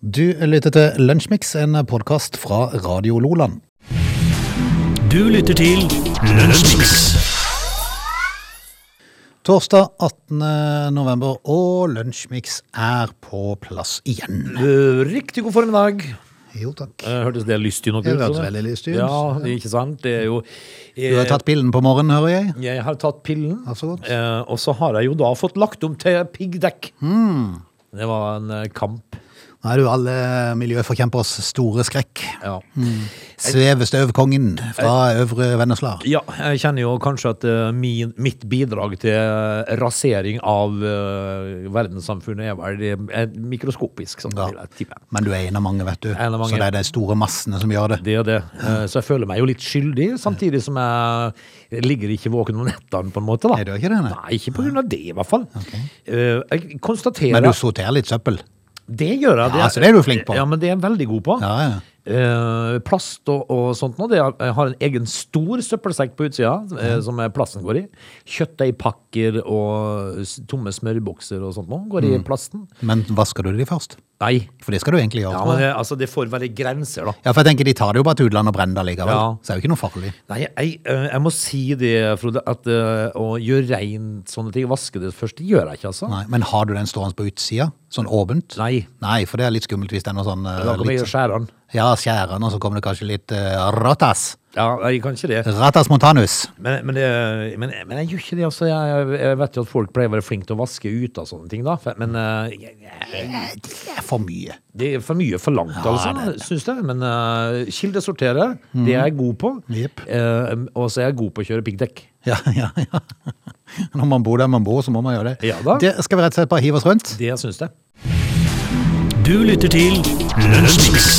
Du lytter til Lunsjmix, en podkast fra Radio Loland. Du lytter til Lunsjmix. Torsdag 18. november, og Lunsjmix er på plass igjen. Eh, Riktig god formiddag. Jo takk. Eh, Hørtes det lystig nok ut? Det hørtes sånn? veldig lystig ut. Ja, det er ikke sant? Det er jo eh, Du har tatt pillen på morgenen, hører jeg. Jeg har tatt pillen. Ja, så godt. Eh, Og så har jeg jo da fått lagt om til piggdekk. Hmm. Det var en eh, kamp. Nå er du alle miljøforkjempers store skrekk. Mm. Ja. Svevestøvkongen fra Øvre Vennesla. ja, jeg kjenner jo kanskje at eh, min, mitt bidrag til eh, rasering av eh, verdenssamfunnet er vel eh, mikroskopisk, sånn Ja. vil jeg tippe. Men du er en av mange, vet du. En av mange. Så det er de store massene som gjør det. Det er det. Eh, Så jeg føler meg jo litt skyldig, samtidig som jeg ligger ikke våken om nettene, på en måte. da. Nei, du gjør ikke det, nei. Nei, ikke på grunn av det, i hvert fall. Eh, Jeg konstaterer Men du sorterer litt søppel. Det gjør jeg. Ja, så det er du flink på. Ja, men det er jeg veldig god på. Ja, ja. Eh, plast og, og sånt nå. Det er, jeg har en egen stor søppelsekk på utsida, eh, som eh, plasten går i. Kjøttdeigpakker og s- tomme smørbokser og sånt nå går Mm. i plasten. Men vasker du de først? Nei. For det skal du egentlig gjøre. Ja, tror jeg. men det, altså, det får være grenser, da. Ja, for jeg tenker De tar det jo bare til utlandet og brenner det likevel. Ja. Så det er jo ikke noe farlig. Nei, jeg, eh, jeg må si det, Frode, at eh, å gjøre rent sånne ting, vaske det først, det gjør jeg ikke, altså. Nei, Men har du den stående på utsida? Sånn åpent? Nei. Nei, for det er litt skummelt hvis den er sånn eh, Da kommer litt, jeg og skjærer den. Ja, skjærende, og så kommer det kanskje litt eh, ratas. Ja, jeg kan ikke det. Ratas montanus. Men, men, det, men, men jeg gjør ikke det, altså. Jeg, jeg, jeg vet jo at folk pleier å være flinke til å vaske ut av sånne ting, da. For- Men eh, jeg, jeg, Eh, Det er for mye. det er for mye forlangt, altså, syns jeg. Men eh, kildesortere, Mm. det er jeg god på. Jepp. Eh, og så er jeg god på å kjøre piggdekk. Ja, ja, ja. Når man bor der man bor, så må man gjøre det. Ja da. Det skal vi rett og slett bare hive oss rundt. Det syns jeg. Du lytter til Lunsjmix.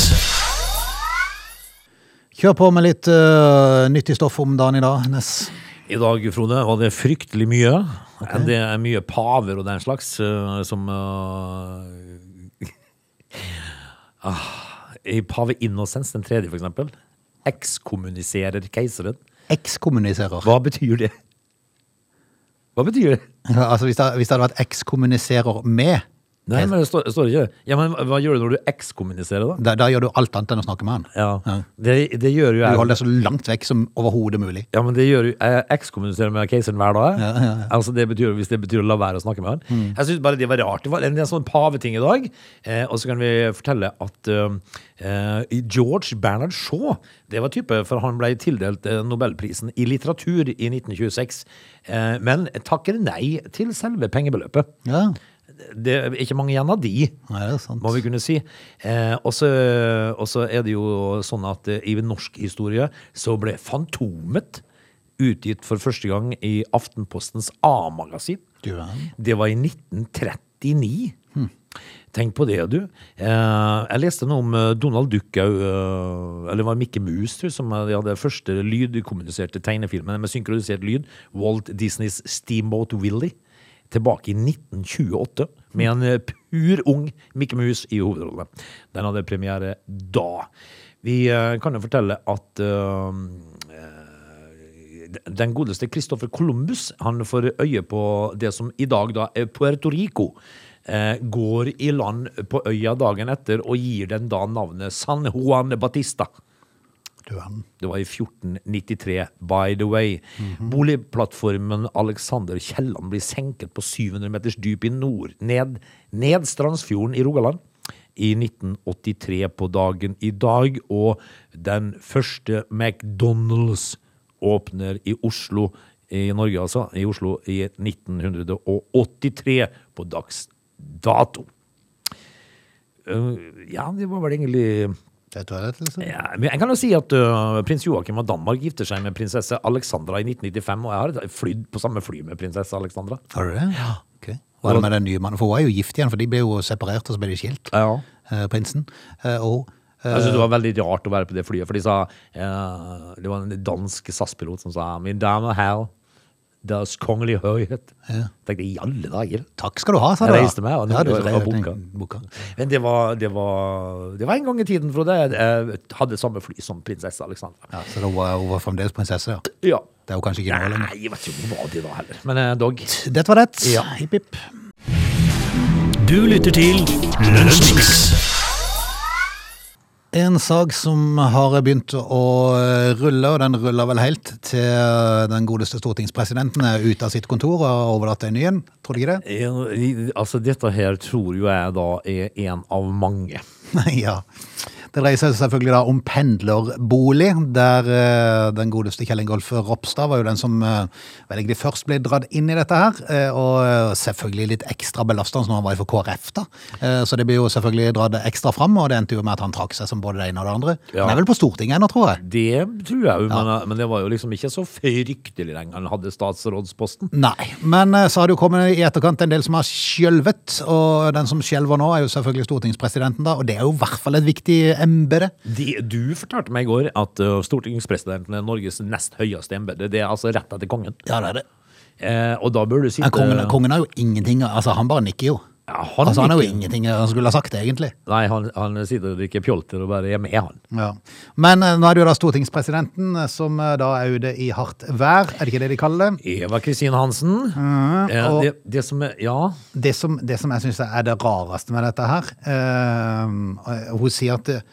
Kjør på med litt eh, nyttig stoff om dagen i dag, Ness. I dag, Frode, var det fryktelig mye. Det er mye paver og den slags eh, som eh, ah, I Pave Innocens den tredje, for eksempel, ekskommuniserer keiseren. Ekskommuniserer. Hva betyr det? Hva betyr det? Altså, hvis det, hvis det hadde vært ekskommuniserer med, Nei, men det står, det står ikke det. Ja, men hva gjør du når du ekskommuniserer, da? da, da gjør du alt annet enn å snakke med han. Ja, det, det gjør Du jo jeg. holder deg så langt vekk som overhodet mulig. Ja, men det gjør jo Jeg ekskommuniserer med keiseren hver dag. jeg. Ja, Mm. ja, Altså det betyr, Hvis det betyr å la være å snakke med han. Jeg syns bare det var rart. Det var en, en sånn paveting i dag. Eh, og så kan vi fortelle at eh, George Bernard Shaw, det var type, for han ble tildelt eh, Nobelprisen i litteratur i 1926. Eh, men takker nei til selve pengebeløpet. Ja, Det er ikke mange igjen av de. Nei, det er sant. Må vi kunne si. Eh, og så og så er det jo sånn at eh, i norsk historie så ble Fantomet utgitt for første gang i Aftenpostens A-magasin. Du verden. Det var i 1939. Tenk på det, du. Eh, jeg leste noe om eh, Donald Duck òg, eh, eller det var Mikke Mus, tror jeg, som eh, de hadde første lydkommuniserte tegnefilmen med synkronisert lyd. Walt Disneys Steamboat Willie. Tilbake i 1928, med en eh, pur ung Mikke Mus i hovedrollen. Den hadde premiere da. Vi eh, kan jo fortelle at eh, den godeste Christopher Columbus han får øye på det som i dag da er Puerto Rico. Eh, går i land på øya dagen etter og gir den da navnet San Juan Batista. Du verden. Det var i 1493, by the way. Boligplattformen Alexander Kielland blir senket på 700 meters dyp i nord, ned, ned Strandsfjorden i Rogaland. I 1983 på dagen i dag, og den første McDonald's åpner i Oslo, i Norge altså, i Oslo i 1983 på dags dato. Eh, ja, det var vel egentlig Det tror jeg det er. Liksom. ja, men jeg kan jo si at ø, prins Joakim av Danmark gifter seg med prinsesse Alexandra i 1995, og jeg har flydd på samme fly med prinsesse Alexandra. Har du det? Ja. Var det med den nye mannen? For hun er jo gift igjen, for de ble jo separert, og så ble de skilt, Ja. eh, prinsen. Eh, og eh, Jeg synes det var veldig rart å være på det flyet, for de sa eh, Det var en dansk SAS-pilot som sa Min dame her, Deres kongelige høyhet. Jeg tenkte i alle dager. takk skal du ha, sa Jeg du. da. reiste meg, og ja, du, og- og reiste- boka. boka. Men det var, det, var, det var en gang i tiden, Frode. Jeg hadde samme fly som prinsesse Alexandra. Ja, så da var hun var fremdeles prinsesse, ja. Ja. Det er jo kanskje ikke noe lenger. Nei, jeg vet ikke om det var det da heller. Men eh, dog. Dette var det. Ja. Hipp, hipp. Du lytter til Lunsjmix. En sag som har begynt å eh, rulle, og den ruller vel helt, til eh, den godeste stortingspresidenten er ute av sitt kontor og har overlatt en ny en. Tror du ikke det? Eh, i- Altså, dette her tror jo jeg da er en av mange. Nei, ja. Det dreier seg selvfølgelig da om pendlerbolig, der eh, den godeste Kjell Ingolf Ropstad var jo den som eh, vel egentlig først ble dratt inn i dette her, eh, og eh, selvfølgelig litt ekstra belastende når han var for KrF da. Eh, Så det ble jo selvfølgelig dratt ekstra fram, og det endte jo med at han trakk seg som både det ene og det andre. Ja. Han er vel på Stortinget ennå, tror jeg. Det tror jeg jo, men, men det var jo liksom ikke så fryktelig lenge han hadde statsrådsposten. Nei, men eh, så har det jo kommet i etterkant en del som har skjelvet, og den som skjelver nå er jo selvfølgelig stortingspresidenten da, og det er jo i hvert fall et viktig embede. De, du fortalte meg i går at eh, stortingspresidenten er Norges nest høyeste embete. Det er altså rett etter kongen. Ja, det er det. Eh, og da bør du sitte Men kongen, kongen har jo ingenting, altså han bare nikker jo. Ja, han Altså eh, han har jo nikker. ingenting han skulle ha sagt egentlig. Nei, han, han sitter og drikker pjolter og bare er med, han. Ja. Men eh, nå er det jo da stortingspresidenten eh, som eh, da er ute i hardt vær, er det ikke det de kaller det? Eva Kristin Hansen. eh, Mm, og- det, det som er Ja. Det som, det som jeg synes er det rareste med dette her, eh, og hun sier at eh,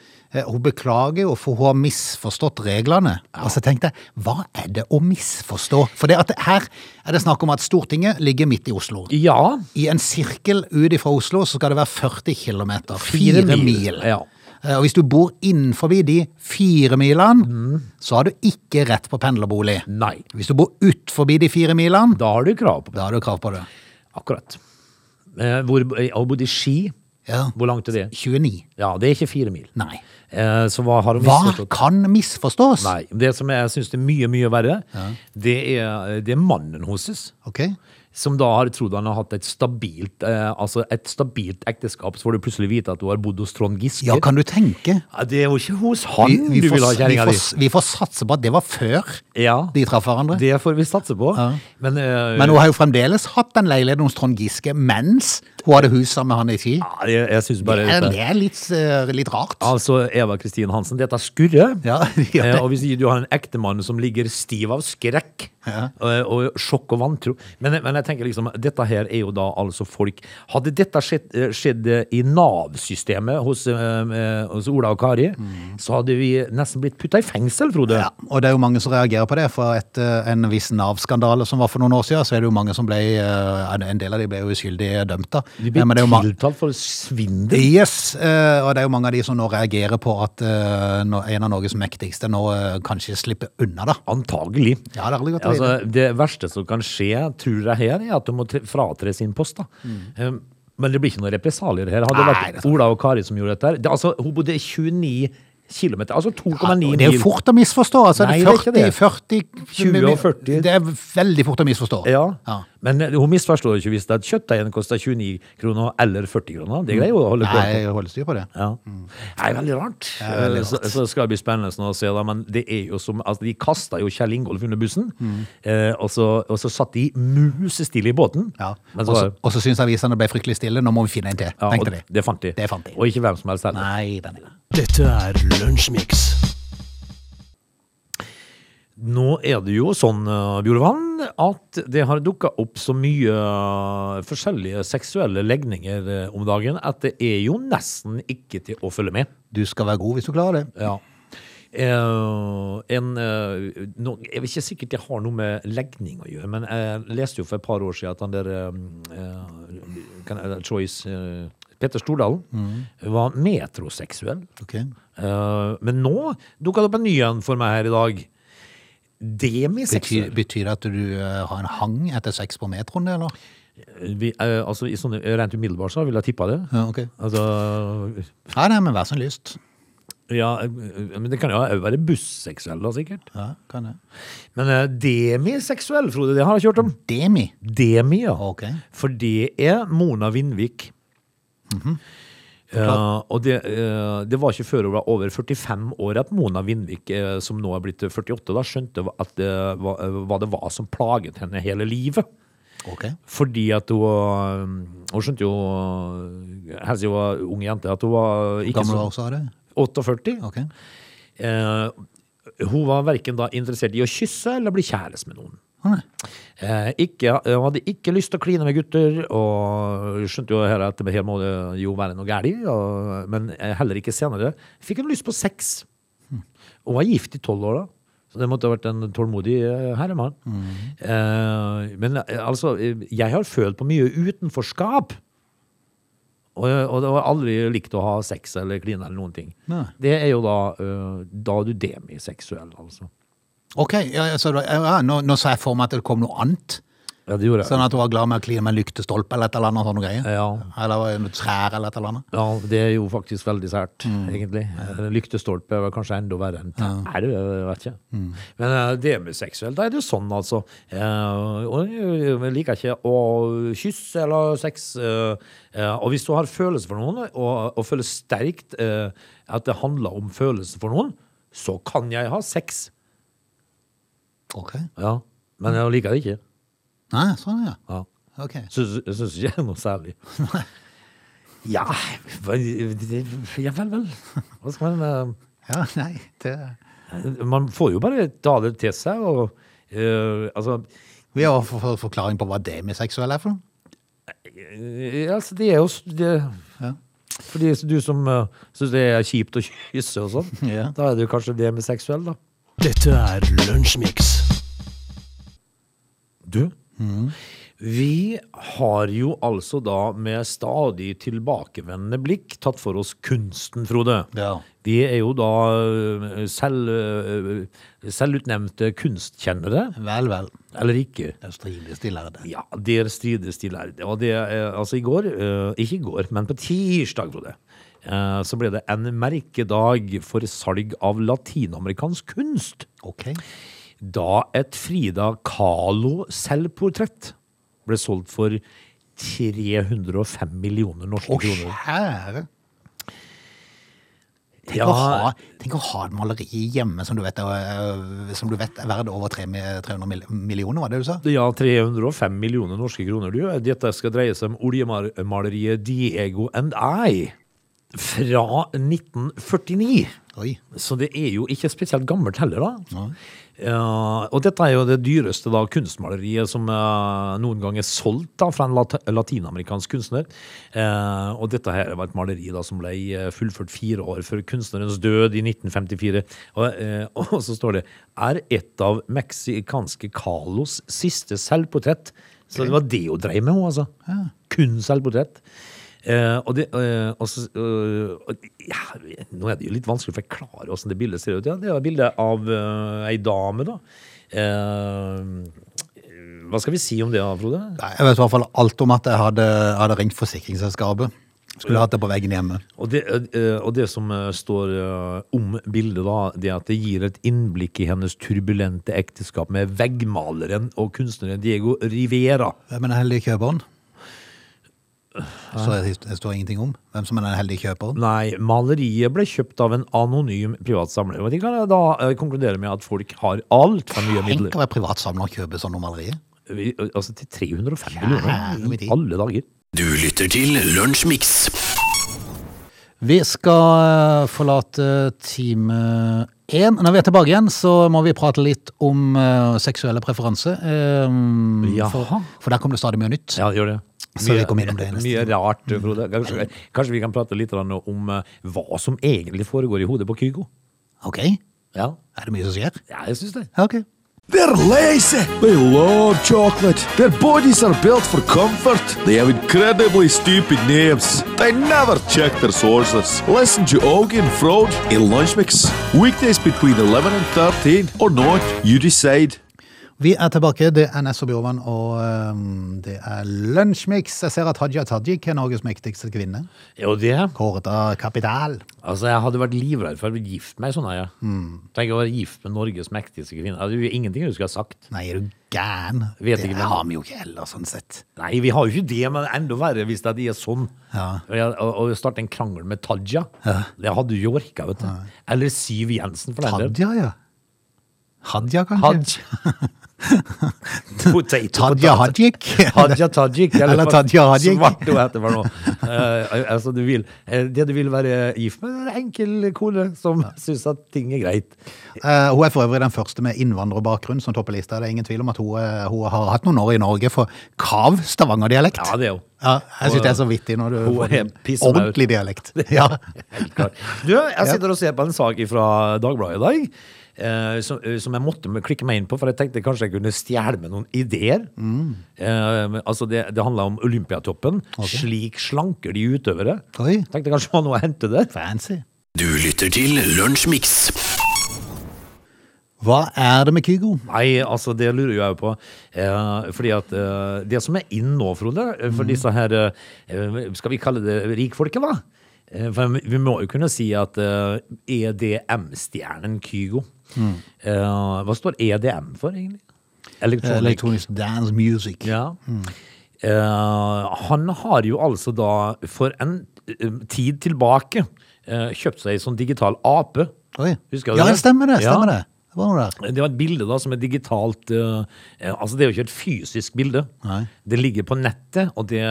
hun beklager jo, for hun har misforstått reglene. Og så tenkte jeg, hva er det å misforstå? For det at her er det snakk om at Stortinget ligger midt i Oslo. Ja. I en sirkel ut ifra Oslo så skal det være 40 km. Fire mil. Ja. Eh, Og hvis du bor innenfor de fire milene, Mm. så har du ikke rett på pendlerbolig. Nei. Hvis du bor utenfor de fire milene, Da har du krav på da har du krav på det. Akkurat. Eh, hvor, jeg har bodd i Ski. Ja. Hvor langt er det? 29. Ja, det er ikke fire mil. Nei. Eh, så hva har hun Hva misforstått? kan misforstås? Nei. Det som jeg syns er mye, mye verre, det, er, det er mannen hennes. Ok. Som da har trodd han har hatt et stabilt, eh, altså et stabilt ekteskap, så får du plutselig vite at du har bodd hos Trond Giske. Ja, kan du tenke? Ja, Det er jo ikke hos han vi, du får, vil ha vi, kjerringa får, di. vi får satse på at det var før Ja, de traff hverandre. det får vi satse på. Ja. Men, eh, Men hun har jo fremdeles hatt den leiligheten hos Trond Giske mens hun hadde hus sammen med han i Ski. ja, jeg, jeg syns bare Det er, dette- det er litt, eh, litt rart. Altså, Eva Kristin Hansen, dette skurrer. Ja, ja. Eh, og hvis du har en ektemann som ligger stiv av skrekk Ja. eh, og sjokk og vantro men, men jeg tenker liksom, dette her er jo da altså folk Hadde dette skjedd, eh, skjedd eh, i Nav-systemet hos, eh, eh, hos Ola og Kari, så hadde vi nesten blitt putta i fengsel, Frode. Mm. Ja, og det er jo mange som reagerer på det. For etter en viss Nav-skandale som var for noen år siden, så er det jo mange som ble eh, En del av de ble jo uskyldig dømt, da. Eh, Vi ble Men det er jo ma- tiltalt for svindel. Yes, eh, og det er jo mange av de som nå reagerer på at eh, nå- en av Norges mektigste nå eh, kanskje slipper unna, da. Antagelig. Ja, det er aldri godt å vite. Altså, det verste som kan skje, tror jeg her, er at du må tre- fratre sin post. da. Um, men det blir ikke noen represalier her. Hadde det Mm. Nei, det vært Ola og Kari som gjorde dette her det, altså, Hun bodde 29 km, altså 2,9 Ja, mil. det er jo fort å misforstå. Altså, Nei, det det er er ikke 40, 40 20 og 40. Det er veldig fort å misforstå. Ja. Ja. Men eh, hun misforstår jo ikke hvis det er kjøttdeigen koster 29 kroner eller 40 kroner. Det greier hun å holde Nei, på. jeg holder styr på det. Ja. Nei, veldig rart. Eh, er veldig Så, så skal det bli spennende sånn å se, da. Men det er jo som altså, De kasta jo Kjell Ingolf under bussen, Mm. eh, og, så, og så satt de musestille i båten. Ja. Men så Og så- var- Og så syns avisene det ble fryktelig stille. Nå må vi finne en til, Ja, tenkte og de. Det fant de. Det fant de. Og ikke hvem som helst heller. Nei, den er Dette er Lunsjmix. Nå er det jo sånn, eh, Bjorvann, at det har dukka opp så mye eh, forskjellige seksuelle legninger eh, om dagen at det er jo nesten ikke til å følge med. Du skal være god hvis du klarer det. Ja. Eh, en, eh, nå, jeg er ikke sikkert det har noe med legning å gjøre, men jeg leste jo for et par år siden at han der eh, kan, jeg- Choice eh, Petter Stordalen Mm. var metroseksuell. Ok. Eh, men nå dukka det opp en ny en for meg her i dag. Betyr, Demiseksuell. betyr det at du eh, har en hang etter sex på metroen, det, eller? Vi, eh, altså, i sånne, rent umiddelbart så vil jeg tippa det. Ja, ok. Altså, Nei, nei, men vær så lyst. ja, eh, men det kan jo også være busseksuell, da, sikkert. Ja, kan jeg. Men eh, demiseksuell, Frode, det har jeg ikke hørt om. Demi. Demi, ja. Ok. For det er Mona Vindvik. Mhm. Eh, og det, eh, det var ikke før hun var over 45 år at Mona Vindvik, eh, som nå er blitt 48, da, skjønte at det, var- eh, hva det var som plaget henne hele livet. Ok. Fordi at hun eh, Hun skjønte jo eh, Helt siden hun var ung jente, at hun var ikke Gammel var så også av det? 48. Ok. Eh, hun var verken da interessert i å kysse eller bli kjæreste med noen. Eh, ikke, jeg hadde ikke lyst til å kline med gutter, og skjønte jo her at det her må det jo være noe galt, og- men eh, heller ikke senere. Fikk en lyst på sex, og var gift i tolv år da. Så det måtte ha vært en tålmodig eh, herremann. Eh, men eh, altså, eh, jeg har følt på mye utenforskap. Og, og det var aldri likt å ha sex eller kline eller noen ting. Nei. Det er jo da, eh, da er du demiseksuell, altså. Ok, ja, ja, så, da- ja, nå, nå sa jeg for meg at det kom noe annet. Ja, det gjorde jeg. Sånn at hun var glad med å kline med en lyktestolpe eller et eller annet sånne greier. Ja. Eller en trær eller et eller annet. Ja, det er jo faktisk veldig sært, egentlig. Eh, Lyktestolpe er vel kanskje enda verre enn tær, jeg vet ikke. Men eh, demiseksuell, da er det jo sånn, altså. Eh, Og jeg liker ikke å kysse eller sex. eh, eh, Og hvis du har følelser for noen, og, og føler sterkt eh, at det handler om følelser for noen, så kan jeg ha sex. Ok. Ja, men jeg liker det ikke. Nei, sånn ja. Ja. Ok. Syns, jeg syns ikke det er noe særlig. Ja, hva- det- ja vel, vel. Hva skal man Ja, nei, det... eh, Man får jo bare ta det til seg og eh, Altså, Vi har for, for, forklaring på hva demiseksuell er for noe. eh, altså det er jo s- det, Ja. For de- du som uh, syns det er kjipt å kysse og sånn, Ja. da er du kanskje demiseksuell, da. Dette er Lunsjmix. Du, Mm. vi har jo altså da med stadig tilbakevendende blikk tatt for oss kunsten, Frode. Ja. Vi er jo da ø, selv, ø, selvutnevnte kunstkjennere, Vel, vel. eller ikke. Det strides de lærde. Ja, der strides de lærde. Og det, eh, altså i går, eh, ikke i går, men på tirsdag, Frode, eh, så ble det en merkedag for salg av latinamerikansk kunst. Ok. Da et Frida Kahlo selvportrett ble solgt for 305 millioner norske Å, kroner. kjære. Tenk, å ha, Ja, tenk å ha et maleri hjemme som du vet er, øh, som du vet er verdt over tre mi- 300 mill- millioner, var det du sa? ja, 305 millioner norske kroner. Du. Dette skal dreie seg om oljemaleriet Diego and I fra 1949. Oi. Så det er jo ikke spesielt gammelt heller, da. Eh, og dette er jo det dyreste da, kunstmaleriet som eh, noen gang er solgt da, fra en lat latinamerikansk kunstner. Eh, og dette her var et maleri da, som ble eh, fullført fire år før kunstnerens død i 1954. Og, eh, og så står det er et av meksikanske Carlos siste selvportrett. Så det var det hun dreiv med, hun, altså. Kun selvportrett. Eh, og det, eh, og så, eh, og, ja, nå er det jo litt vanskelig å forklare hvordan det bildet ser ut. Ja, det er et bilde av eh, ei dame, da. Eh, hva skal vi si om det, da, Frode? Nei, Jeg vet i hvert fall alt om at jeg hadde, hadde ringt forsikringsselskapet. Skulle hatt det på veggen hjemme. Og det, eh, og det som eh, står eh, om bildet, da, det er at det gir et innblikk i hennes turbulente ekteskap med veggmaleren og kunstneren Diego Rivera. Hvem er den heldige kjøperen? Så det det står ingenting om hvem som er den heldige kjøperen. Nei, maleriet ble kjøpt av en anonym privat samler. Og de kan da eh, konkludere med at folk har altfor mye midler. Tenk å være privatsamler og kjøpe sånne malerier. Vi- Altså til 305 Kjære min millioner tid. i alle dager. Du lytter til Lunsjmix. Vi skal eh, forlate time én. Når vi er tilbake igjen, så må vi prate litt om eh, seksuelle preferanser. eh, Jaha. For, for der kommer det stadig mye nytt. Ja, gjør det. Så vi kommer innom det neste mye rart, Frode. Kanskje, kanskje vi kan prate litt grann om eh, hva som egentlig foregår i hodet på Kygo? Ok? Ja, Er det mye som skjer? ja jeg syns det. Ja, ok. They're lazy. They love chocolate. Their bodies are built for comfort. They have incredibly stupid names. They never check their sources. Listen to Augie and Frode in Lunch Mix. Weekdays between 11 and 13 or not, you decide. Vi er tilbake. Det er Ness og Bjørvann, og eh, det er Lunsjmix. Jeg ser at Hadia Tajik er Norges mektigste kvinne. Jo, det. Kåret av Kapital. Altså, jeg hadde vært livredd for å bli gift med ei sånn ei. Ja. Mm. Tenk å være gift med Norges mektigste kvinne. Altså, Det er jo ingenting du skulle ha sagt. Nei, er du gæren? Vet det ikke, men- har vi jo ikke heller, sånn sett. Nei, vi har jo ikke det, men enda verre hvis det er de er sånn. Ja. Og jeg- Og, og starte en krangel med Taja. Det hadde du jo orka, vet du. Eller Siv Jensen, for den del. Hadia, ja. Hadia, kanskje? Hadia. Potato, Tadja potato. Hajik. Hadia Tajik. Eller Tadja Hajik. Svart hun heter for noe. Eh, altså, du vil, eh, det du vil være gift med, er en enkel kone som syns at ting er greit. Eh, hun er for øvrig den første med innvandrerbakgrunn som topper lista. Det er ingen tvil om at hun, eh, hun har hatt noen år i Norge for kav stavangerdialekt. Ja, det er hun. Ja, jeg syns det er så vittig når du Hun får er en pissmaur. ordentlig dialekt. Ja. Helt klart. Du, jeg sitter og ser på en sak fra Dagbladet i dag. eh, som, eh, som jeg måtte me- klikke meg inn på, for jeg tenkte kanskje jeg kunne stjele med noen ideer. Mm. Eh, men altså det, det handla om Olympiatoppen. Slik slanker de utøvere. Oi. Tenkte kanskje det var noe å hente der. Fancy. Du lytter til Lunsjmix. Hva er det med Kygo? Nei, altså det lurer jo jeg på. Eh, fordi at eh, det som er inn nå, Frode, eh, Mhm. for disse her eh, Skal vi kalle det rikfolket, da? Eh, for vi må jo kunne si at eh, EDM-stjernen Kygo Mm. eh, Hva står EDM for, egentlig? Electronic Elektronisk dance music. ja. Mm. Eh, han har jo altså da for en eh, tid tilbake eh, kjøpt seg en sånn digital ape. Oi. Husker du ja, det? stemmer det. Ja. stemmer det. Det var noe der. Det var et bilde da som er digitalt eh, eh, Altså det er jo ikke et fysisk bilde. Nei. Det ligger på nettet, og det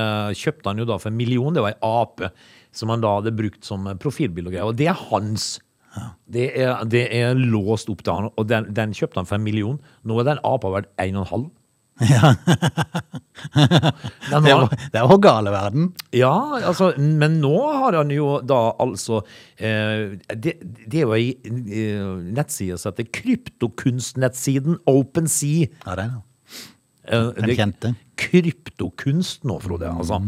kjøpte han jo da for en million. Det var ei ape som han da hadde brukt som profilbilde og greier. Og det er hans. Det, er, det er låst opp til han, og den, den kjøpte han for en million. Nå er den apa verdt en og en halv. Ja. Det var, det var gale verden. Ja, altså, men nå har han jo da altså eh, det, det er jo ei eh, nettside som heter kryptokunstnettsiden OpenSea. Ja, det er det. Eh, det- kjente. Kryptokunst nå, Frode. Altså.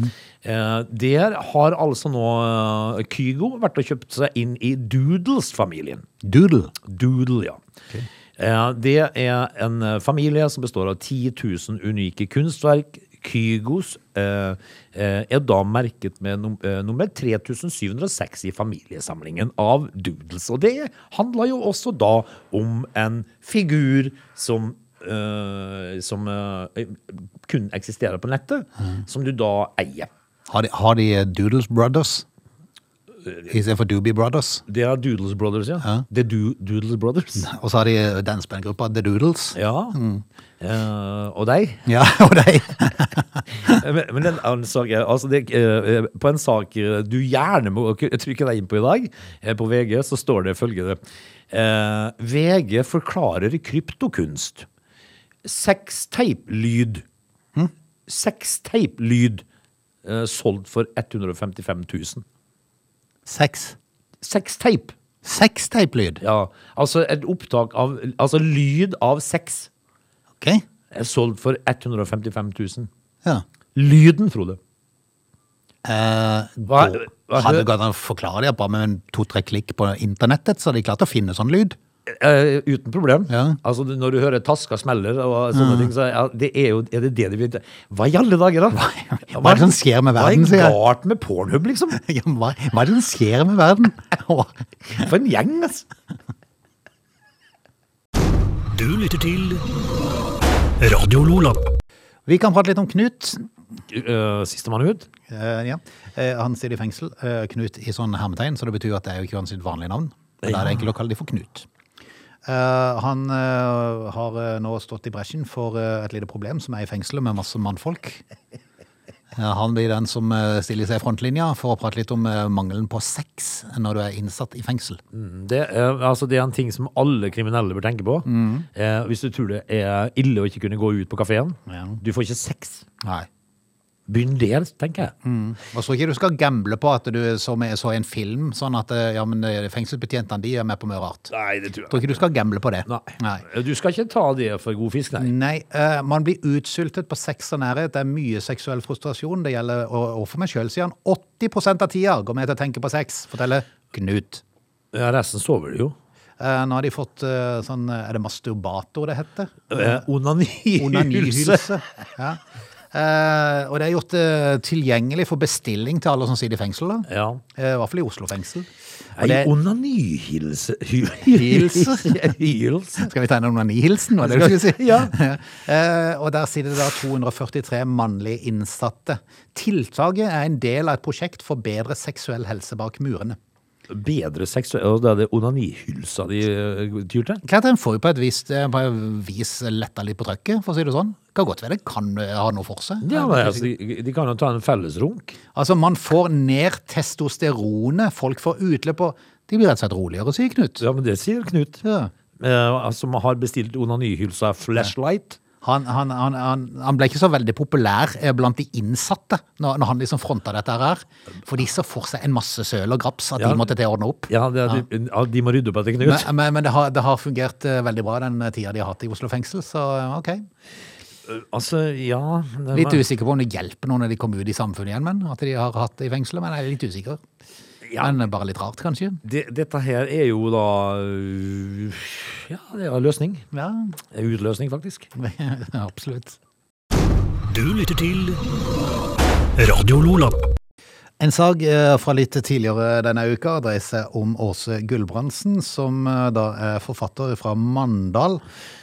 Eh, der har altså nå eh, Kygo vært og kjøpt seg inn i Doodles-familien. Doodle. Doodle, ja. Eh, Det er en eh, familie som består av 10 000 unike kunstverk. Kygos eh, eh, er da merket med num eh, nummer 3706 i familiesamlingen av Doodles. Og det handler jo også da om en figur som eh, som eh, kun eksisterer på nettet, som du da eier. Har de, har de eh, Doodles Brothers? Øh, Istedenfor Doobie Brothers. Det er Doodles Brothers, ja. The Do Doodles Brothers. Og så har de eh, dansebandgruppa The Doodles. Ja. Eh, og deg? Ja, og de Eh, Men men en annen sak er- altså det, eh, På en sak eh, du gjerne må k- trykke deg inn på i dag, eh, på VG, så står det følgende eh, VG forklarer kryptokunst. Sexteiplyd. Sexteiplyd Hm? eh, solgt for 155 000. Seks. Sexteip! Seksteiplyd. Ja, altså et opptak av Altså lyd av sex Ok. er solgt for 155 000. Ja. Lyden, Frode. Eh, Hva- da hva- hadde det gått an å forklare det bare med en to-tre klikk på internettet, så hadde de klart å finne sånn lyd. Eh, uten problem. Ja. Mm. Altså, du- når du hører taska smeller og sånne ting, så er- ja, det er, jo, er det det de vil Hva i alle dager, da? Hva, hva er det som skjer med verden, sier Hva jeg? er galt med Pornhub, liksom? Ja, men hva, hva er det som skjer med verden? Åh, For en gjeng, altså. Du lytter til Radio Lola. Vi kan prate litt om Knut. Uh, Sistemann ut? Eh, ja. Eh, han sitter i fengsel, eh, Knut i sånn hermetegn, så det betyr jo at det er jo ikke hans sitt vanlige navn. Men Da er det enkelt å kalle de for Knut. Eh, han eh, har eh, nå stått i bresjen for eh, et lite problem som er i fengselet med masse mannfolk. Eh, han blir den som eh, stiller seg i frontlinja for å prate litt om eh, mangelen på sex når du er innsatt i fengsel. Det, er- altså, det er en ting som alle kriminelle bør tenke på. Mm. Eh, hvis du tror det er ille å ikke kunne gå ut på kafeen. Ja. Du får ikke sex. Nei. Begynn der, tenker jeg. Mm. Og så ikke du skal gamble på at du som jeg så i en film, sånn at eh, ja, men eh, fengselsbetjentene de er med på mye rart. Nei, det tror jeg. Tror ikke du skal gamble på det. Nei. Nei. Du skal ikke ta det for god fisk, nei. Nei, eh, man blir utsultet på sex og nærhet. Det er mye seksuell frustrasjon. Det gjelder og, og for meg sjøl, sier han. 80 av tida går med til å tenke på sex, forteller Knut. Ja, resten sover du jo. Eh, nå har de fått eh, sånn eh, Er det masturbator det heter? Eh, Onanihylse. Onanihylse. Ja. Eh, og det er gjort eh, tilgjengelig for bestilling til alle som sitter i fengsel. da. Ja. Eh, I hvert fall i Oslo fengsel. Og Ei det, onanihilse hy- Hilse? Hilse? skal vi ta en onanihilsen, var det du skulle si? Ja. Eh, og der sitter det da 243 mannlige innsatte. Tiltaket er en del av et prosjekt for bedre seksuell helse bak murene. bedre seksuell Og da er det onanihylsa de eh, tyr til? Catherine får jo på et vis, eh, på et vis letta litt på trøkket, for å si det sånn. Kan godt være det kan eh, ha noe for seg. Ja, men, altså, de, de kan jo ta en fellesrunk. Altså, man får ned testosteronet, folk får utløp, og de blir rett og slett roligere, sier Knut. Ja, men det sier Knut. Ja. Eh, som har bestilt onanihylsa flashlight. Han, han, han, han, han ble ikke så veldig populær eh, blant de innsatte når, når han liksom fronta dette her. For de så for seg en masse søl og graps at Ja. de måtte til å ordne opp. Ja, det, er- ja, de må rydde opp etter Knut. Men, men, men det, har, det har fungert eh, veldig bra den tida de har hatt i Oslo fengsel, så eh, ok. altså, ja det- Litt usikker på om det hjelper noe når de kommer ut i samfunnet igjen, men at de har hatt det i fengselet, men jeg er litt usikker. Men eh, bare litt rart, kanskje. det, Dette her er jo da øh, Ja, det er en løsning. Ja, En Utløsning, faktisk. absolutt. Du lytter til Radio Lola. En sak eh, fra litt tidligere denne uka dreier seg om Åse Gulbrandsen, som eh, da er forfatter fra Mandal.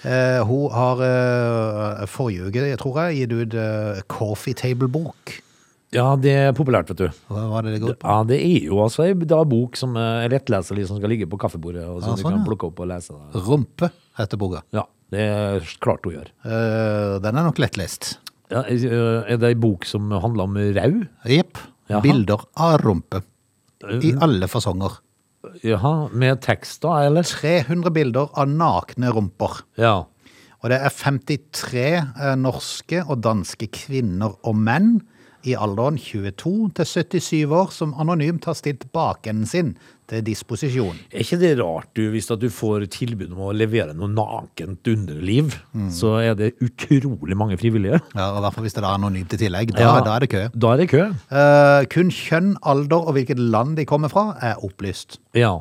Eh, Hun har eh, forrige uke, jeg tror jeg, gitt ut eh, Coffee Table-bok. Ja, det er populært, vet du. Hva var det det går ut på? Ja, Det er jo altså ei da bok som eh, er lettleselig, som skal ligge på kaffebordet, og så Ja, du sånn, kan ja. plukke opp og lese. det. Rumpe heter boka. Ja, Det er klart hun gjør. Eh, Den er nok lettlest. Ja, eh, er det ei bok som handler om rau? Jepp. Jaha. Bilder av rumpe. I alle fasonger. Jaha, med tekst, da, eller? 300 bilder av nakne rumper. Ja. Og det er 53 eh, norske og danske kvinner og menn i alderen 22 til 77 år som anonymt har stilt bakenden sin til disposisjon. Er ikke det rart, du, hvis at du får tilbud om å levere noe nakent underliv, så er det utrolig mange frivillige? Ja, og I hvert fall hvis det da er anonymt i tillegg. Da, Ja. da er det kø. Da er det kø. Eh, kun kjønn, alder og hvilket land de kommer fra, er opplyst. Ja.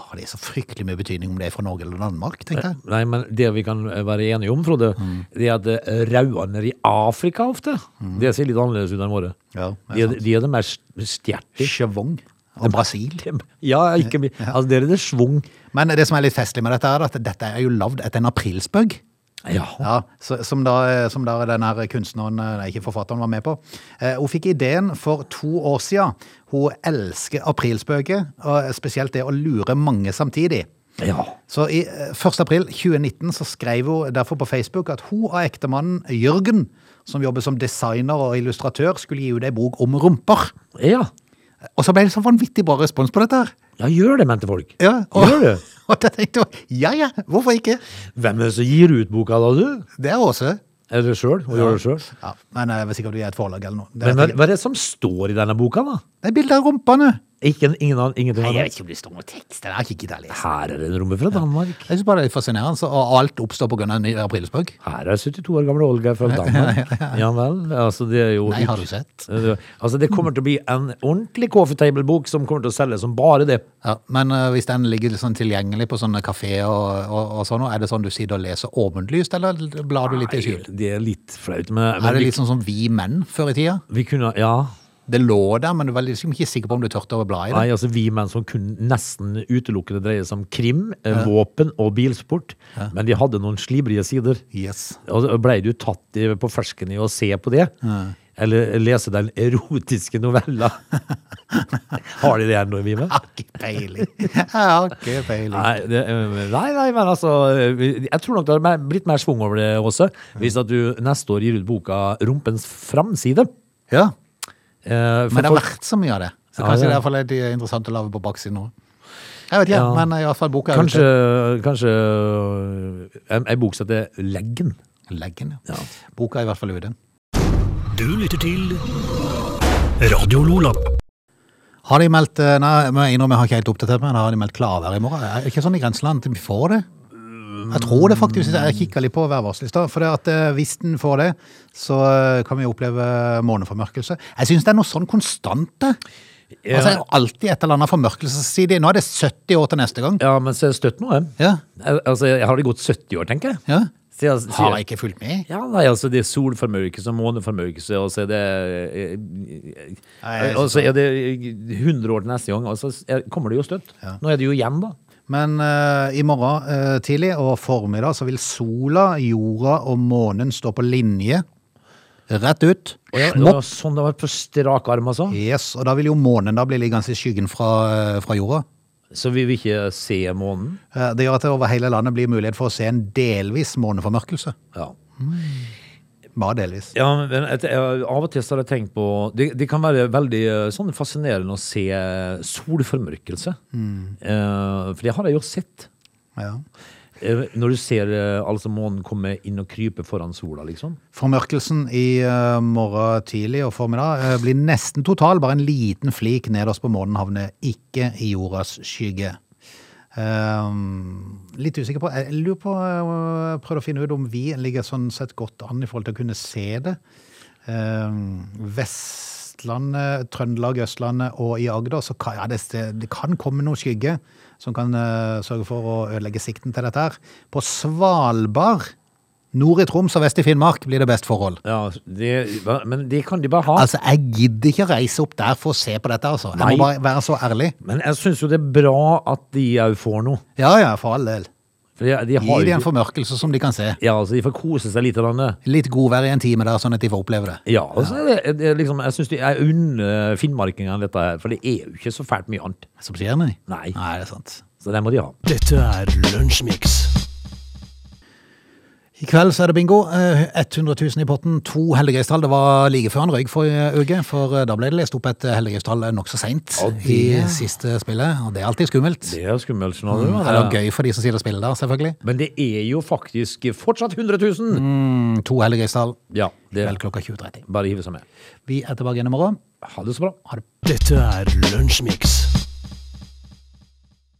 Har det så fryktelig mye betydning om det er fra Norge eller Danmark, tenkte jeg. Nei, men det vi kan eh, være enige om, Frode, Mm. det er at eh, rauene i Afrika ofte, det ser litt annerledes ut enn våre. Ja, de, det er er, de er det mer stjertig. Chevong og Eh, Brasil. Ja, ikke mye. Altså, det er det svung. Men det som er litt festlig med dette, er at dette er jo lagd etter en aprilspøgg. Ja. Ja, så- som, da, eh, som da den her kunstneren, eh, nei, ikke forfatteren, var med på. Eh, Hun fikk ideen for to år siden. Hun elsker aprilspøket, og spesielt det å lure mange samtidig. ja. Så i eh, 1. april 2019 så skrev hun derfor på Facebook at hun og ektemannen Jørgen, som jobber som designer og illustratør, skulle gi ut ei bok om rumper. Ja. Og så ble det så vanvittig bra respons på dette her. Ja, gjør det, mente folk. Ja, og, Gjør det? Og da tenkte hun, ja ja, hvorfor ikke? Hvem er det som gir ut boka da, du? Det er Åse. Er det sjøl? Hun gjør det sjøl. Ja, men eh, jeg er sikker på at vi er et forlag eller noe. Det vet Men hva, jeg ikke. hva er det som står i denne boka, da? det er bilder av rumpene. Ikke, ingen, annen- ingenting Nei, jeg annet? vet ikke om det står noe tekst. Jeg har ikke giddet å lese. Her er det en romme fra Danmark. Jeg synes bare det er fascinerende, så- og alt oppstår på grunn av en ny aprilspøk. Her er 72 år gamle Olga fra Danmark. Ja vel. Altså, det er jo Nei, har du sett? Altså, det kommer til å bli en ordentlig coffee table-bok som kommer til å selge som bare det. Ja, men eh, hvis den ligger litt sånn tilgjengelig på sånne kaféer og, og, og sånn, er det sånn du sitter og leser åpentlyst, eller blar du litt i skjul? Nei, Det er litt flaut, men, Er men det vi, litt sånn som vi menn før i tida? vi kunne Ja. Det lå der, men du var liksom ikke sikker på om du tørte å bla i det. Nei, altså vi menn som kun nesten utelukkende dreier seg om krim, eh, våpen og bilsport. Men de hadde noen slibrige sider. Yes. Og så Ble du tatt i- på fersken i å se på det? Eller lese den erotiske novella? Har de det her nå, Vive? Jeg har Ah, ikke peiling. Jeg har ikke peiling. Nei, det, eh, nei, nei, men altså eh, Jeg tror nok det har mer- blitt mer svung over det også. Hvis at du neste år gir ut boka 'Rumpens framside'. Ja, eh, for Men det har folk- vært så mye av det. Så Ja, kanskje det- det er iallfall litt eh, interessant å lage på baksiden nå. Jeg vet ikke, Ja. men eh, i hvert fall boka er Kanskje, kanskje eh, en, en bok som heter 'Leggen'. ute. Leggen, ja. Ja. Boka er i hvert fall ute. Du lytter til Radio Lola. Har de meldt eh, Nei, jeg må innrømme, jeg har ikke helt oppdatert meg. men Har de meldt klarvær i morgen? Er det ikke sånn i grenseland at vi får det? Jeg tror det faktisk. Jeg kikka litt på værvarselet i stad. For det at eh, hvis den får det, så eh, kan vi oppleve måneformørkelse. Jeg syns det er noe sånn konstant, det. Altså, det er jo alltid et eller annet formørkelsesside. Nå er det 70 år til neste gang. Ja, men så er det støtt nå, jeg. Ja. Al- Altså, jeg har det gått 70 år, tenker jeg. ja. Siden- siden- Har jeg ikke fulgt med? Ja, nei, altså det er solformørkelse og måneformørkelse, og så er det Nei, jeg- Og så er det 100 år til neste gang, og så er- kommer det jo støtt. Nå er det jo igjen, da. Men eh, i morgen eh, tidlig og formiddag så vil sola, jorda og månen stå på linje rett ut. Ja, det var Smopp. sånn det var på strak arm, altså. Yes, og da vil jo månen da bli liggende i skyggen fra, eh, fra jorda. Så vi vil ikke se månen. Eh, Det gjør at det over hele landet blir mulighet for å se en delvis måneformørkelse. Ja. Bare delvis. Ja, men et, jeg, Av og til så har jeg tenkt på Det, det kan være veldig eh, sånn fascinerende å se solformørkelse. Eh, for det har jeg jo sett. Ja. Eh, når du ser eh, altså månen komme inn og krype foran sola, liksom. Formørkelsen i eh, morgen tidlig og formiddag eh, blir nesten total. Bare en liten flik nederst på månen havner ikke i jordas skygge. Ehm, litt usikker på Jeg lurer på eh, prøvde å finne ut om vi ligger sånn sett godt an i forhold til å kunne se det. Ehm, Vestlandet, Trøndelag, Østlandet og i Agder så kan, ja, det, det kan komme noe skygge som kan eh, sørge for å ødelegge sikten til dette her. På Svalbard, nord i Troms og vest i Finnmark blir det best forhold. Ja, det, hva- men det kan de bare ha. Altså, Jeg gidder ikke reise opp der for å se på dette, altså. Jeg Nei. må bare være så ærlig. Men jeg syns jo det er bra at de òg får noe. Ja ja, for all del. For de, de Gi har dem en jo formørkelse som de kan se. Ja, altså, de får kose seg litt. av denne. Litt godvær i en time der, sånn at de får oppleve det. Ja, altså, Det, det, er liksom, jeg syns jeg unner finnmarkingene dette her, for det er jo ikke så fælt mye annet. Som skjer med de. Nei. Nei, det er sant. Så det må de ha. Dette er Lunsjmix. I kveld så er det bingo. Eh, 100 000 i potten, to heldigreistall. Det var like før han røyk forrige uke, for eh, da ble det lest opp et heldigreistall nokså seint Ja, i det- siste spillet. Og det er alltid skummelt. Det er jo skummelt. skjønner du, Eller altså. gøy for de som sier det spillet der, selvfølgelig. Men det er jo faktisk fortsatt 100 000! Mm, To heldigreistall Ja, det kveld klokka 20.30. bare hive seg med. Vi er tilbake igjen i morgen. Ha det så bra. Ha det. Dette er Lunsjmix.